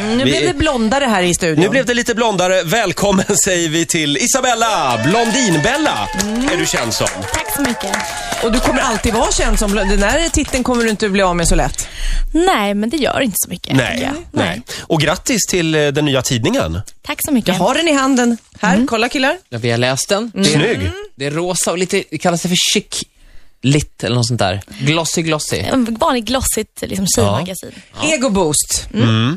Nu Vi blev är- det blondare här i studion. Nu blev det lite blondare. Välkommen säger vi till Isabella, Blondinbella är du känd som. Tack så mycket. Och du kommer alltid vara känd som blond. Den här titeln kommer du inte bli av med så lätt. Nej, men det gör inte så mycket. Nej, tycker jag. nej. Och grattis till eh, den nya tidningen. Tack så mycket. Jag har den i handen. Här, kolla killar. Ja, vi har läst Mm. den. Det, är- Snygg. det är rosa och lite, det kallas det för chic lit eller något sånt där. Glossy glossy. En vanlig glossigt liksom, tjejmagasin. Ego boost.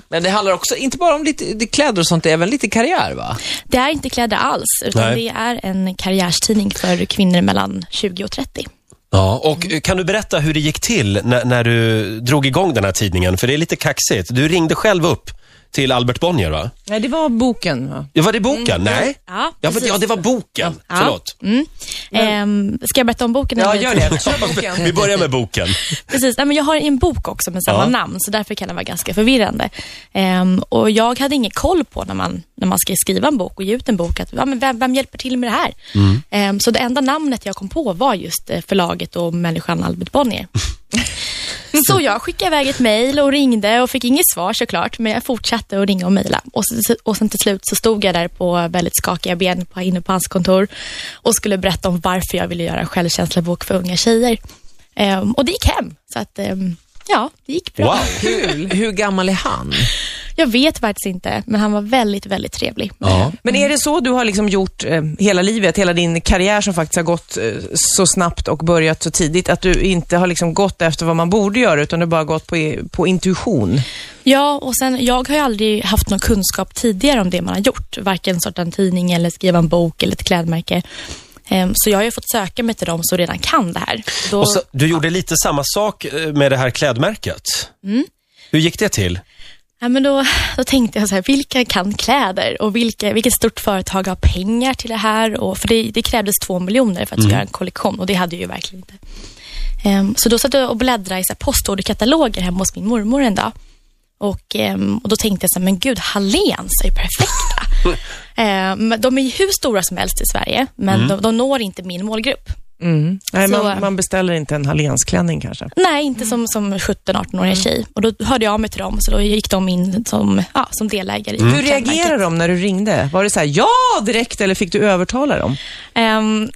Men det handlar också, inte bara om lite det är kläder och sånt, det är även lite karriär va? Det är inte kläder alls, utan Nej. det är en karriärstidning för kvinnor mellan 20 och 30. Ja, och eh, kan du berätta hur det gick till när, när du drog igång den här tidningen? För det är lite kaxigt. Du ringde själv upp till Albert Bonnier va? Nej, det var boken. Va? Ja, var det boken? Nej? Ja, Ja, men, precis. ja, det var boken. Förlåt. Mm. Ehm, ska jag berätta om boken? Ja, eller? gör det. Kör boken. Vi börjar med boken. Precis. Nej, men jag har en bok också med samma Ja. namn, så därför kan den vara ganska förvirrande. Ehm, och Jag hade ingen koll på när man, när man ska skriva en bok och ge ut en bok, att, ja, men vem, vem hjälper till med det här? Mm. Ehm, så det enda namnet jag kom på var just eh, förlaget och människan Albert Bonnier. Så jag skickade iväg ett mejl och ringde och fick inget svar såklart, men jag fortsatte att ringa och mejla. Och, så- och sen till slut så stod jag där på väldigt skakiga ben på, inne på hans kontor och skulle berätta om varför jag ville göra en självkänslabok för unga tjejer. Ehm, och det gick hem, så att ehm, ja, det gick bra. Wow. Hur, hur gammal är han? Jag vet faktiskt inte, men han var väldigt, väldigt trevlig. Ja. Men är det så du har liksom gjort eh, hela livet, hela din karriär som faktiskt har gått eh, så snabbt och börjat så tidigt, att du inte har liksom gått efter vad man borde göra, utan du bara gått på, på intuition? Ja, och sen jag har ju aldrig haft någon kunskap tidigare om det man har gjort. Varken starta en tidning eller skriva en bok eller ett klädmärke. Ehm, Så jag har ju fått söka mig till dem som redan kan det här. Då, Och så, du gjorde lite samma sak eh, med det här klädmärket. Hur gick det till? ja, men då, då tänkte jag så här, vilka kan kläder och vilka, vilket stort företag har pengar till det här? Och, för det, det krävdes två miljoner för att göra en kollektion och det hade jag ju verkligen inte. Ehm, Så då satt jag och bläddrade i så här postorderkataloger hemma hos min mormor en dag. Och, ehm, och då tänkte jag så här, men gud, Halléns är ju perfekta. Ehm, men de är ju hur stora som helst i Sverige, men de, de når inte min målgrupp. Nej, Så, Mm. man, eh, man beställer inte en hallensklänning kanske. Nej, inte som, som 17-18-årig tjej. Och då hörde jag av mig till dem, så då gick de in som, ja, som delägare. i Hur klädmärket. reagerade de när du ringde? Var det så här, ja direkt eller fick du övertala dem? Ehm,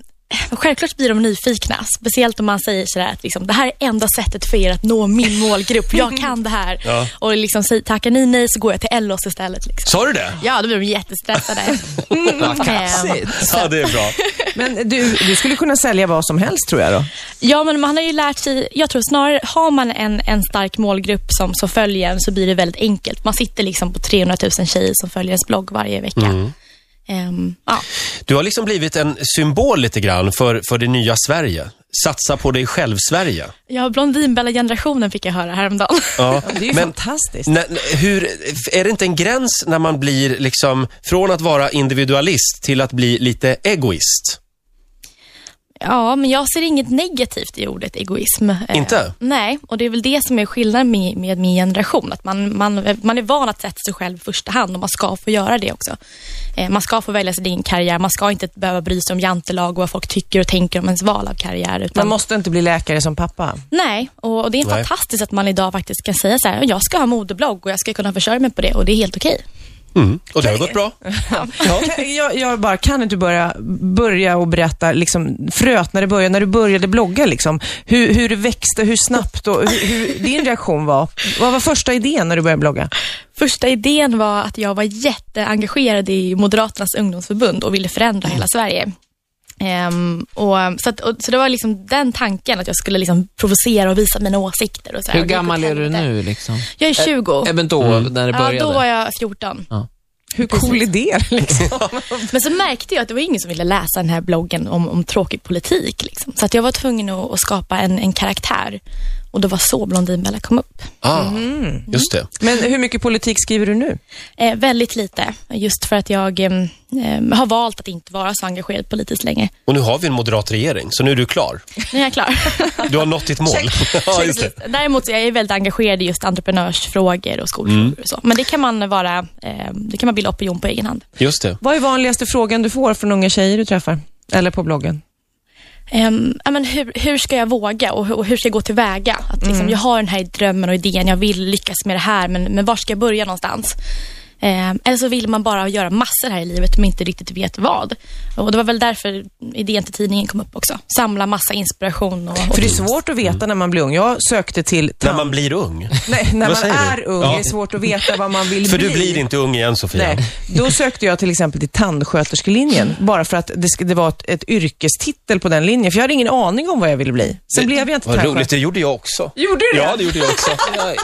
Självklart blir de nyfikna, speciellt om man säger sådär att liksom, det här är enda sättet för er att nå min målgrupp. Jag kan det här. Ja. Och liksom, säg- tackar ni nej så går jag till Ellos istället. Liksom. Sa du det? Ja, då blir de jättestressade. Ehm, Ja, det är bra. Men du, du skulle kunna sälja vad som helst tror jag då? Ja, men man har ju lärt sig, jag tror snarare, har man en, en stark målgrupp som, som följer en så blir det väldigt enkelt. Man sitter liksom på 300 000 tjejer som följer ens blogg varje vecka. Mm. Ehm, ja. Du har liksom blivit en symbol lite grann för, för det nya Sverige. Satsa på dig själv, Sverige. ja, Blondinbella-generationen fick jag höra häromdagen. Ja, Det är ju men fantastiskt. när, hur, är det inte en gräns när man blir liksom från att vara individualist till att bli lite egoist? Ja, men jag ser inget negativt i ordet egoism. Eh, Inte? nej, och det är väl det som är skillnaden med, med min generation. Att man, man, man är van att sätta sig själv i första hand och man ska få göra det också. Eh, man ska få välja sin egen karriär. Man ska inte behöva bry sig om jantelag och vad folk tycker och tänker om ens val av karriär. Man Utan, måste inte bli läkare som pappa. nej, och, och det är Nej. fantastiskt att man idag faktiskt kan säga så här, jag ska ha modeblogg och jag ska kunna försörja mig på det och det är helt okej. Mm. Och det har gått bra. Kan- Jag, jag bara, kan inte du börja, börja och berätta liksom, fröet när det började, när du började blogga liksom, hur, hur det växte, hur snabbt och hur, hur din reaktion var. Vad var första idén när du började blogga? Första idén var att jag var jätteengagerad i Moderaternas ungdomsförbund och ville förändra hela Sverige. Ehm, och, så, att, och, så det var liksom den tanken att jag skulle liksom provocera och visa mina åsikter. Och så här. Hur Och det gick gammal åt är du helvete. nu liksom? Jag är 20. Även då, när det Mm. Ja, började? då var jag 14. Hur cool är det? Liksom? Men så märkte jag att det var ingen som ville läsa den här bloggen om, om tråkig politik. Liksom. Så att jag var tvungen att, att skapa en, en karaktär. Och det var så Blondinbella kom upp. Ah, Mm-hmm. just det. Men hur mycket politik skriver du nu? Eh, väldigt lite, just för att jag em, em, har valt att inte vara så engagerad politiskt länge. Och nu har vi en moderat regering, så nu är du klar. Nu är jag klar. Du har nått ditt mål. ja, just det. Däremot så är jag väldigt engagerad i just entreprenörsfrågor och skolfrågor och så. Men det kan man vara, eh, det kan man bilda opinion på egen hand. Just det. Vad är vanligaste frågan du får från unga tjejer du träffar? Eller på bloggen? Ehm, ja, men hur, hur ska jag våga och hur, och hur ska jag gå tillväga? Att liksom, Jag har den här drömmen och idén, jag vill lyckas med det här, men, men var ska jag börja någonstans? Ehm, eller så vill man bara göra massor här i livet men inte riktigt vet vad. Och Det var väl därför idén till tidningen kom upp också. Samla massa inspiration. Och, och För det är svårt att veta när man blir ung. Jag sökte till När tand... man blir ung. Nej, när man Vad säger är du? ung. Ja. Det är svårt att veta vad man vill För bli. du blir inte ung igen, Sofia. Nej, då sökte jag till exempel till tandsköterskelinjen, bara för att det, sk- det var ett, ett yrkestitel på den linjen, för jag hade ingen aning om vad jag ville bli. Sen blev jag inte Vad roligt, tandsköterska. det gjorde jag också. Gjorde du det? Ja, det gjorde jag också.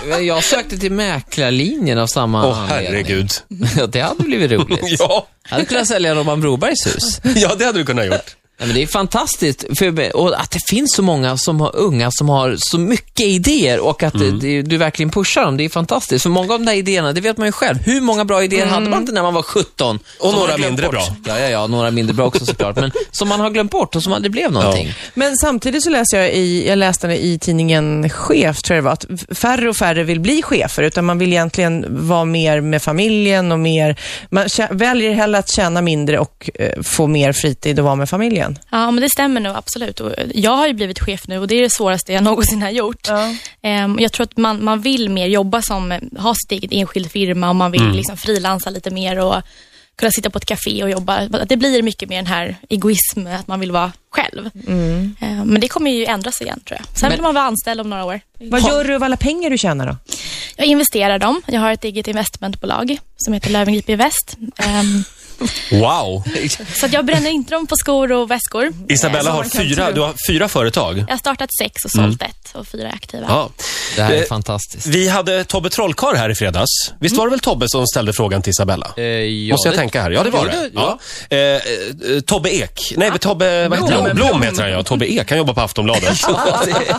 Jag, jag sökte till mäklarlinjen av samma Åh, herregud. Ja, det hade blivit roligt. Ja. Jag hade kunnat sälja Robban Brobergs hus. ja, det hade du kunnat gjort. Nej, men det är fantastiskt för, och att det finns så många som har unga som har så mycket idéer och att Mm. det, du verkligen pushar dem. Det är fantastiskt. För många av de där idéerna, det vet man ju själv. Hur många bra idéer hade man inte när man var 17? Mm. Och som man några har glömt mindre bort? bra. Ja, ja, ja, några mindre bra också såklart. Men som man har glömt bort och som aldrig blev någonting. Men samtidigt så läser jag i, jag läste det i tidningen Chef, tror jag det var, att f- färre och färre vill bli chefer, utan man vill egentligen vara mer med familjen och mer, man tjä- väljer hellre att tjäna mindre och eh, få mer fritid och vara med familjen. Ja, men det stämmer nog absolut. Och jag har ju blivit chef nu och det är det svåraste jag någonsin har gjort. Ehm, och jag tror att man, man vill mer jobba som, eh, ha sitt eget enskild firma och man Mm. vill liksom frilansa lite mer och kunna sitta på ett café och jobba. Att Det blir mycket mer den här egoism, att man vill vara själv. Ehm, men det kommer ju ändras igen tror jag. Sen Men- vill man vara anställd om några år. Vad gör du av alla pengar du tjänar då? Jag investerar dem. Jag har ett eget investmentbolag som heter Löwengrip Invest. Ehm, Wow. så att jag bränner inte dem på skor och väskor. Isabella som har Alltså, man kan Mm. fyra, tro. du har fyra företag. Jag har startat sex och sålt ett och fyra är aktiva. Ja. Det här är Eh, fantastiskt. Vi hade Tobbe Trollkarl här i fredags. Visst var det väl Tobbe som ställde frågan till Isabella? Eh, ja, Måste jag det- tänka här? Ja, det var Jo, det. det- Ja. Eh, eh, Tobbe Ek. Nej, men Tobbe... Vad heter Blom. han? Blom heter han, ja. Tobbe Ek. Han jobbar på Aftonbladet.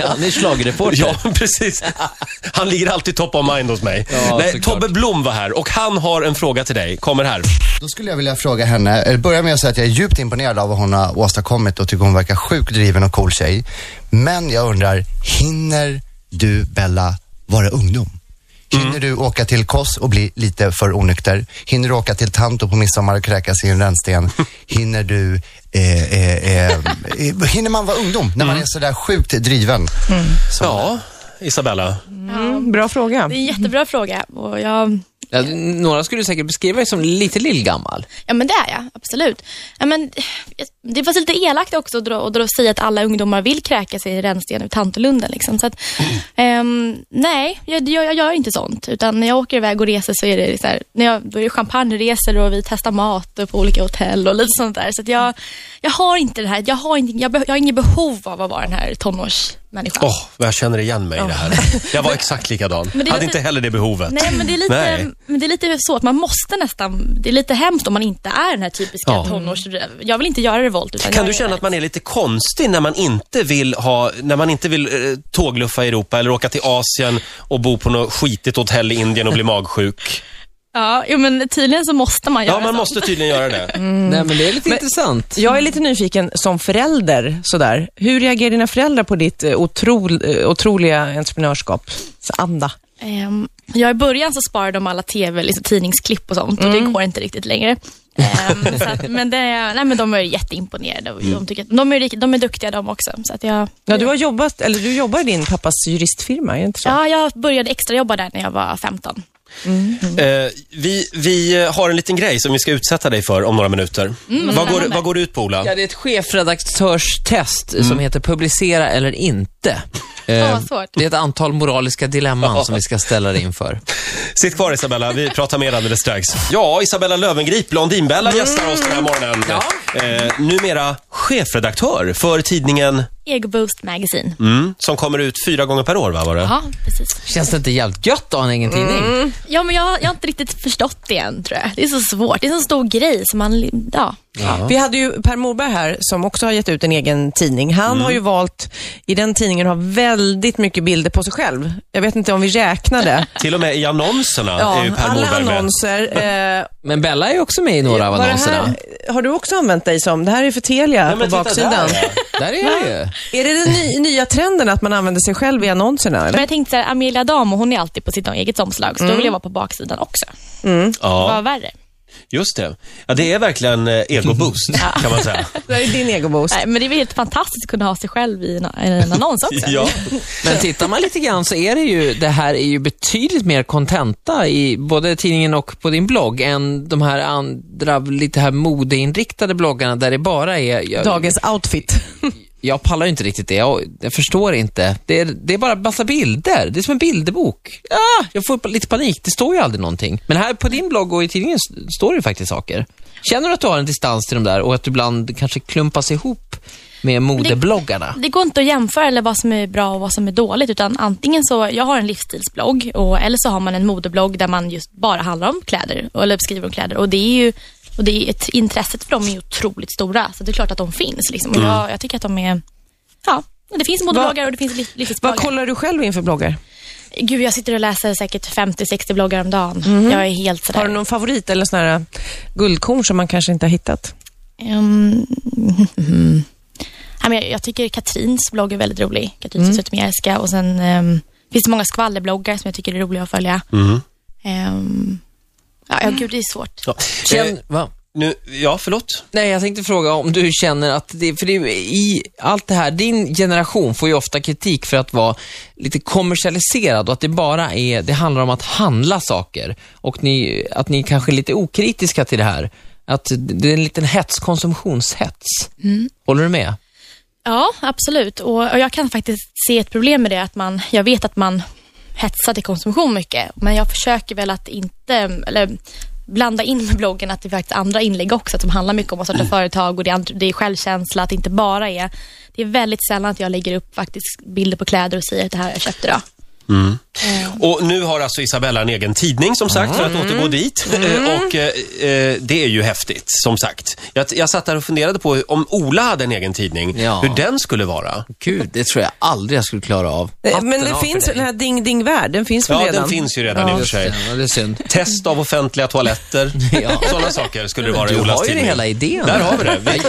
Han är schlagerreporter. Ja, precis. Han ligger alltid top of mind hos mig. Ja, Nej, såklart. Tobbe Blom var här och han har en fråga till dig. Kommer här. Då skulle jag vilja fråga henne, eller börja med att säga att jag är djupt imponerad av vad hon har åstadkommit och tycker hon verkar sjukt driven och cool tjej. Men jag undrar, hinner du Bella vara ungdom? Hinner du åka till Kos och bli lite för onykter? Hinner du åka till Tanto på midsommar och kräkas i en rännsten? Hinner du... Eh, eh, eh, eh, hinner man vara ungdom när man är sådär sjukt driven? Ja, Isabella. Mm, bra fråga. Det är en jättebra fråga. Och jag, Ja, några skulle säkert beskriva dig som lite lillgammal. ja, men det är jag. Absolut. Ja, men, det var lite elakt också att, dra, att dra, säga att alla ungdomar vill kräka sig i rännsten ur Tantolunden. Liksom. Så att, ehm, nej, jag, jag, jag gör inte sånt. Utan när jag åker iväg och reser så är det, så här, när jag, då är det champagneresor och vi testar mat på olika hotell och lite sånt där. Så att jag, jag har inte det här. Jag har, inte, jag, beh- jag har inget behov av att vara den här tonårsmänniskan. Åh, vad jag känner igen mig i det här. Jag var exakt likadan. Men det är Hade lite- inte heller det behovet. Nej, men det, är Nej. lite, men det är lite så att man måste nästan, det är lite hemskt om man inte är den här typiska Ja. tonårs... Jag vill inte göra revolt. Utan Kan jag du är- känna att man är lite konstig när man inte vill ha, när man inte vill eh, tågluffa i Europa eller åka till Asien och bo på något skitigt hotell i Indien och bli magsjuk? Ja, jo, men tydligen så måste man göra Ja, man så. Mm. måste tydligen göra det. Nej, men det är lite intressant. Jag är lite nyfiken som förälder, sådär. Hur reagerar dina föräldrar på ditt eh, otrol, eh, otroliga entreprenörskap? Så anda. Ehm, ja, I början så sparade de alla tv, liksom, tidningsklipp och sånt och det går inte riktigt längre. Ehm, så att, men, det, nej, men de är jätteimponerade och Mm. de, tycker att, de, är, rik- de är duktiga de också. Så att jag, Ja, du har jobbat, eller du jobbar i din pappas juristfirma, är det inte så? ja, jag började extrajobba där när jag var 15. Eh, vi, vi har en liten grej som vi ska utsätta dig för om några minuter. Mm, vad, går, vad går det ut på, Ola? Ja, Mm. det är ett chefredaktörstest som heter Publicera eller inte. Ehm. Eh, vad svårt. det är ett antal moraliska dilemman som vi ska ställa dig inför. Sitt kvar Isabella, vi pratar mer alldeles strax. Ja, Isabella Lövengrip, Mm. Blondinbella gästar oss den här morgonen. Eh, numera chefredaktör för tidningen Egoboost Magazine. mm, som kommer ut fyra gånger per år, va, var det? Ja, precis. Känns det inte jävligt gött att ha en egen tidning? Ja, men jag, jag har inte riktigt förstått det än, tror jag. Det är så svårt. Det är en så stor grej som man... Ja. Vi hade ju Per Morberg här som också har gett ut en egen tidning. Han Mm. har ju valt, i den tidningen, har väldigt mycket bilder på sig själv. Jag vet inte om vi räknade. Till och med i annonserna är ju Per alla Morberg med. annonser. Eh, Men Bella är ju också med i några av var det annonserna. här, har du också använt dig som, det här är för Telia Nej, på men titta baksidan. där, ja. Där är jag ju. Är det den ny, nya trenden att man använder sig själv i annonserna? Eller? Men jag tänkte så här, Amelia Damo, hon är alltid på sitt eget omslag, så då vill jag vara på baksidan också. Mm. Ja. Vad värre. Just det. Ja, det är verkligen eh, ego-boost kan man säga. Det här är din egoboost. Nej, men det är väl helt fantastiskt att kunna ha sig själv i en, en annons också. Ja. Men tittar man lite grann så är det ju, det här är ju betydligt mer kontenta i både tidningen och på din blogg än de här andra lite här modeinriktade bloggarna där det bara är... Jag, Dagens outfit. jag pallar ju inte riktigt det, jag, jag förstår inte. Det är, det är bara massa bilder, det är som en bilderbok. Ah, jag får lite panik, det står ju aldrig någonting. Men här på din blogg och i tidningen s- står det ju faktiskt saker. Känner du att du har en distans till de där och att du ibland kanske klumpas ihop med modebloggarna? Det går inte att jämföra eller vad som är bra och vad som är dåligt. Utan antingen så, jag har en livsstilsblogg och, eller så har man en modeblogg där man just bara handlar om kläder eller skriver om kläder. Och det är ju, och det är ett, intresset för dem är ju otroligt stora. Så det är klart att de finns. Liksom. Och Mm. Jag, jag tycker att de är, ja, det finns modebloggar och det finns liv- Vad livsstilsbloggar. kollar du själv inför bloggar? Gud, jag sitter och läser säkert 50-60 bloggar om dagen. Jag är helt sådär. Mhm. Har du någon favorit eller sån här äh, guldkorn som man kanske inte har hittat? Ehm, mhm. Ja, men jag, jag tycker Katrins blogg är väldigt rolig. Katrin mm. Zytomierska. Och sen ehm, finns det många skvallerbloggar som jag tycker är roliga att följa. Ehm, ja, ja, gud, det är svårt. Ja. Eh, Känn, va? nu, ja, förlåt. Nej, jag tänkte fråga om du känner att det, för det, är ju i allt det här, din generation får ju ofta kritik för att vara lite kommersialiserad och att det bara är, det handlar om att handla saker och ni, att ni kanske är lite okritiska till det här. Att det är en liten hets, konsumtionshets. Håller du med? Ja, absolut. Och, och jag kan faktiskt se ett problem med det. Att man, jag vet att man hetsar till konsumtion mycket. Men jag försöker väl att inte, eller blanda in med bloggen att det är faktiskt andra inlägg också som handlar mycket om att starta företag och det är, andra- det är självkänsla, att det inte bara är... Det är väldigt sällan att jag lägger upp faktiskt bilder på kläder och säger att det här har jag köpte idag. Och nu har alltså Isabella en egen tidning som sagt, för Mm. att återgå dit. och eh, eh, det är ju häftigt, som sagt. Jag, jag satt där och funderade på om Ola hade en egen tidning, Ja. hur den skulle vara. Gud, det tror jag aldrig jag skulle klara av. Eh, Men det finns den här Ding Ding Värld, den finns väl Ja, redan? den finns ju redan i och för sig. det är synd. Test av offentliga toaletter, Ja. sådana saker skulle det vara i Du Olas har ju tidning. hela idén. Där har vi det. Vi,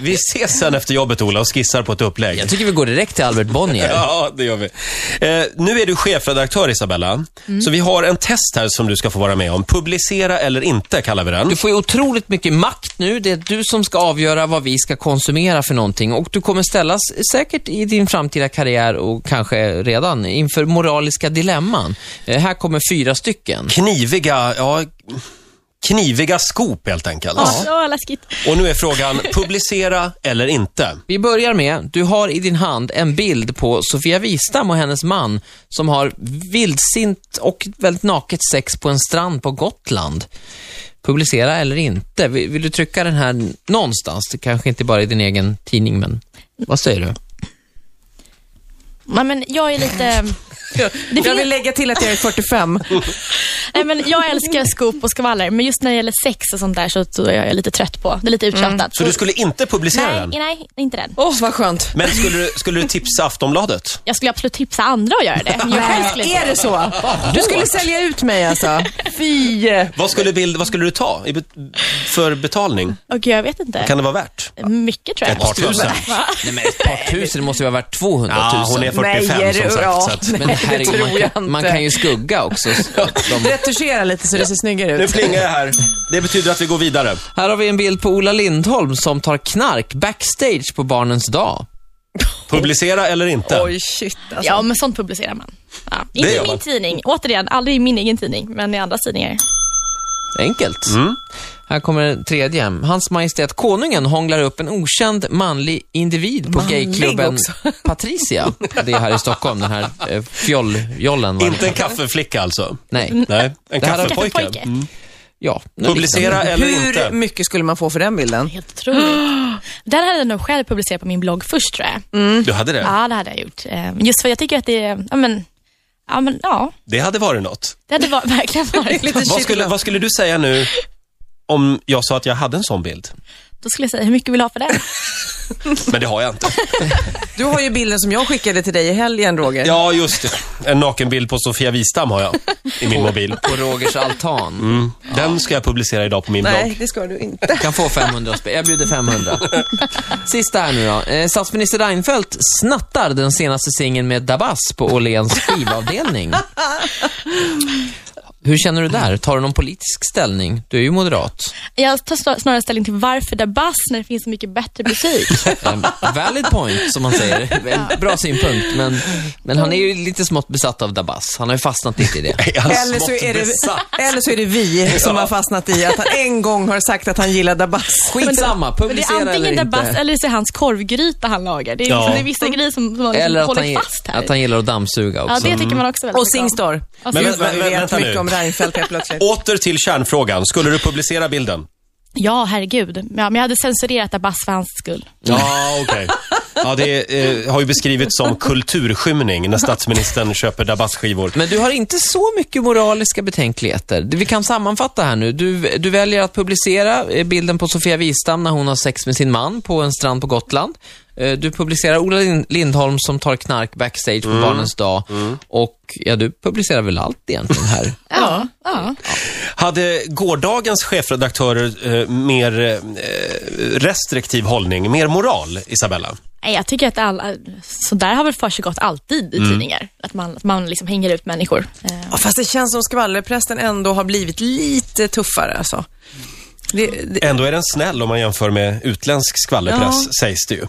vi ses sen efter jobbet, Ola, och skissar på ett upplägg. Jag tycker vi går direkt till Albert Bonnier. Ja, det gör vi. Eh, nu är du chefredaktör, Isabella. Mm. Så vi har en test här som du ska få vara med om. Publicera eller inte, kallar vi den. Du får ju otroligt mycket makt nu. Det är du som ska avgöra vad vi ska konsumera för någonting och du kommer ställas säkert i din framtida karriär och kanske redan inför moraliska dilemman. Eh, här kommer fyra stycken. Kniviga, ja, kniviga skop helt enkelt. Ja. läskigt. Och nu är frågan, publicera eller inte? Vi börjar med, du har i din hand en bild på Sofia Wistam och hennes man som har vildsint och väldigt naket sex på en strand på Gotland. Publicera eller inte? Vill, vill du trycka den här någonstans? Det kanske inte bara i din egen tidning, men vad säger du? Nej, men jag är lite... Jag vill lägga till att jag är 45. Nej, men jag älskar scoop och skvaller, men just när det gäller sex och sånt där så, så är jag lite trött på. Det är lite uttjatat. Mm. Så du skulle inte publicera nej, den? nej, inte den. Åh, vad skönt. Men skulle du, skulle du tipsa Aftonbladet? Jag skulle absolut tipsa andra att göra det. Jag själv skulle inte Är det så? Du skulle sälja ut mig alltså? Fy! Vad skulle, bild, vad skulle du ta i bet, för betalning? Och jag vet inte. Kan det vara värt? Mycket tror jag. Ett par tusen? Va? Nej men ett par tusen, det måste ju vara värt 200 000. Ja, hon är 45 Nej, är som det- sagt. ja. Så att, Men Nej, det herregud, tror man, jag kan, man inte. kan ju skugga också. så De, Retuschera lite så det ser snyggare nu ut. plingar det här. Det betyder att vi går vidare. här har vi en bild på Ola Lindholm som tar knark backstage på barnens dag. Publicera eller inte? Oj, shit alltså. Ja, men sånt publicerar man. Ja. gör Inte i min man. tidning. Återigen, aldrig i min egen tidning, men i andras tidningar. Enkelt. Mm. Här kommer den tredje. Hans Majestät Konungen hånglar upp en okänd manlig individ på Manlig gayklubben också. Patricia. Det är här i Stockholm, den här eh, fjoll-jollen. var det. Inte en kaffeflicka alltså? Nej. Nej, en Det här har- kaffepojke. Mm. Kaffepojke. Ja. Publicera eller Hur inte? mycket skulle man få för den bilden? Helt otroligt. Den hade jag nog själv publicerat på min blogg först tror jag. Du hade det? Ja, det hade jag gjort. Eh, Just för jag tycker att det är, ja men, ja, men, ja Det hade varit något. det hade var, verkligen varit Lite Vad skulle, kittlande. vad skulle du säga nu om jag sa att jag hade en sån bild? Då skulle jag säga, hur mycket vill du ha för den? Men det har jag inte. Du har ju bilden som jag skickade till dig i helgen, Roger. Ja, just det. En nakenbild på Sofia Wistam har jag i min mobil. På Rogers altan. Mm. Den ska jag publicera idag på min Nej, blogg. det ska du inte. Kan få 500 spänn. Jag bjuder 500. Sista här nu då. Eh, statsminister Reinfeldt snattar den senaste singeln med Dabas på Åhléns skivavdelning. Hur känner du där? Tar du någon politisk ställning? Du är ju moderat. Jag tar snar- snarare ställning till varför det är bass när det finns så mycket bättre musik. Em, Ehm, valid point, som man säger. En Bra synpunkt, men, men han är ju lite smått besatt av Dabas. Han har ju fastnat lite i det. Är han Eller så, smått är det, besatt? eller så är det vi som har fastnat i att han en gång har sagt att han gillar Dabas. Skitsamma, Men det publicera är eller antingen inte. Dabas eller så är hans korvgryta han lagar. Det är, Ja. liksom, det är vissa grejer som, som han liksom Eller att håller han, fast här. att han gillar att dammsuga ja, också. det tycker man också väldigt Och mycket om. Singstar. Och Gud, Men- Singstar. vad vi men- vet vänta nu. mycket om Reinfeldt helt plötsligt. Åter till kärnfrågan. Skulle du publicera bilden? Ja, herregud. Ja, men jag hade censurerat Dabas för hans skull. Ja, okej. Ja, det eh, har ju beskrivits som kulturskymning när statsministern köper Dabas-skivor. Men du har inte så mycket moraliska betänkligheter. Det- Vi kan sammanfatta här nu. Du, du väljer att publicera eh, bilden på Sofia Wistam när hon har sex med sin man på en strand på Gotland. Eh, Du publicerar Ola Lind- Lindholm som tar knark backstage Mm. på Barnens dag. Och ja, du publicerar väl allt egentligen här. Ja. ja. Hade gårdagens chefredaktörer eh, mer eh, restriktiv hållning, mer moral, Isabella? Nej, jag tycker att alla, så där har väl försiggått alltid i Mm. tidningar. Att man, att man liksom hänger ut människor. Eh, Ja, fast det känns som skvallerprästen ändå har blivit lite tuffare alltså. Det, det, Ändå är den snäll om man jämför med utländsk skvallerpress, Ja. sägs det ju.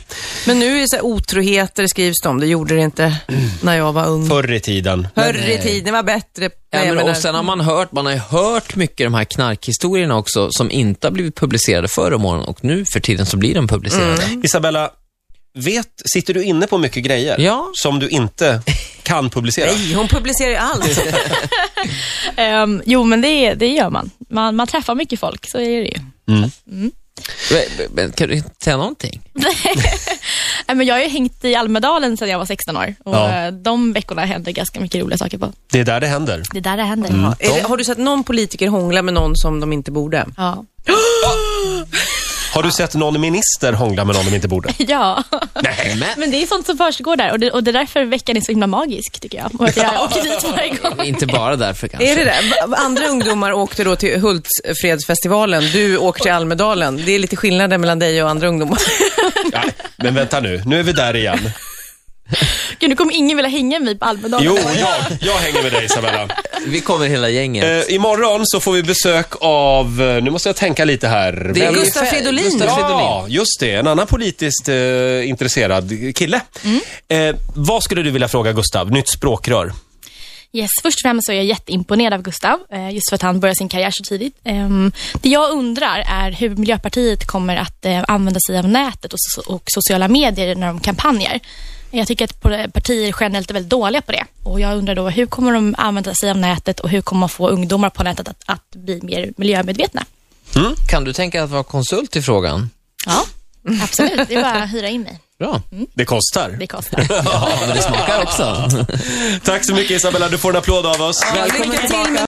men nu är det så här, otroheter skrivs det om. Det gjorde det inte när jag var ung. Förr i tiden. Förr i tiden var bättre. Ja, Nej, jag men, menar- och sen har man hört, man har ju hört mycket de här knarkhistorierna också som inte har blivit publicerade förr om åren och nu för tiden så blir de publicerade. Mm. Isabella, vet, sitter du inne på mycket grejer Ja. som du inte kan publicera? Nej, hon publicerar ju allt. ehm, jo, men det, det gör man. man. Man träffar mycket folk, så är det ju. Men- men Kan du inte säga någonting? Nej, Eh, men jag har ju hängt i Almedalen sedan jag var 16 år. Och Ja. eh, De veckorna hände ganska mycket roliga saker på. Det är där det händer. Det är där det händer. Mm. Är det, har du sett någon politiker hångla med någon som de inte borde? Ja. Har du sett någon minister hångla med någon de inte borde? ja. Nej, men... Men det är sånt som försiggår där och det, och det är därför veckan är så himla magisk tycker jag. Och att jag åker dit varje gång. Inte bara därför kanske. Är det det? Va- Andra ungdomar åkte då till Hultsfredsfestivalen. Du åker till Almedalen. Det är lite skillnader mellan dig och andra ungdomar. Nej, men vänta nu, nu är vi där igen. Gud, nu kommer ingen vilja hänga med mig på Almedalen. Jo, jag, jag hänger med dig Isabella. Vi kommer hela gänget. Eh, imorgon så får vi besök av, eh, nu måste jag tänka lite här. Det är Vem- Gustaf Fe- Fridolin. Gustaf Fridolin. Ja, just det. En annan politiskt eh, intresserad kille. Mm. Eh, vad skulle du vilja fråga Gustav? Nytt språkrör. Mm. Yes, först och främst så är jag jätteimponerad av Gustav, eh, just för att han började sin karriär så tidigt. Ehm, Det jag undrar är hur Miljöpartiet kommer att eh, använda sig av nätet och, so- och sociala medier när de kampanjer. Jag tycker att po- partier generellt är väldigt dåliga på det. Och jag undrar då, hur kommer de använda sig av nätet och hur kommer man få ungdomar på nätet att, att bli mer miljömedvetna? Kan du tänka dig att vara konsult i frågan? Ja, absolut. Det är bara att hyra in mig. Bra. Det kostar. Det kostar. Ja, men det smakar också. Tack så mycket Isabella, du får en applåd av oss. Lycka till med